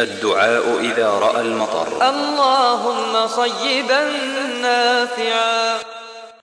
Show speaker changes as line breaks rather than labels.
الدعاء إذا رأى المطر
اللهم صيبا نافعا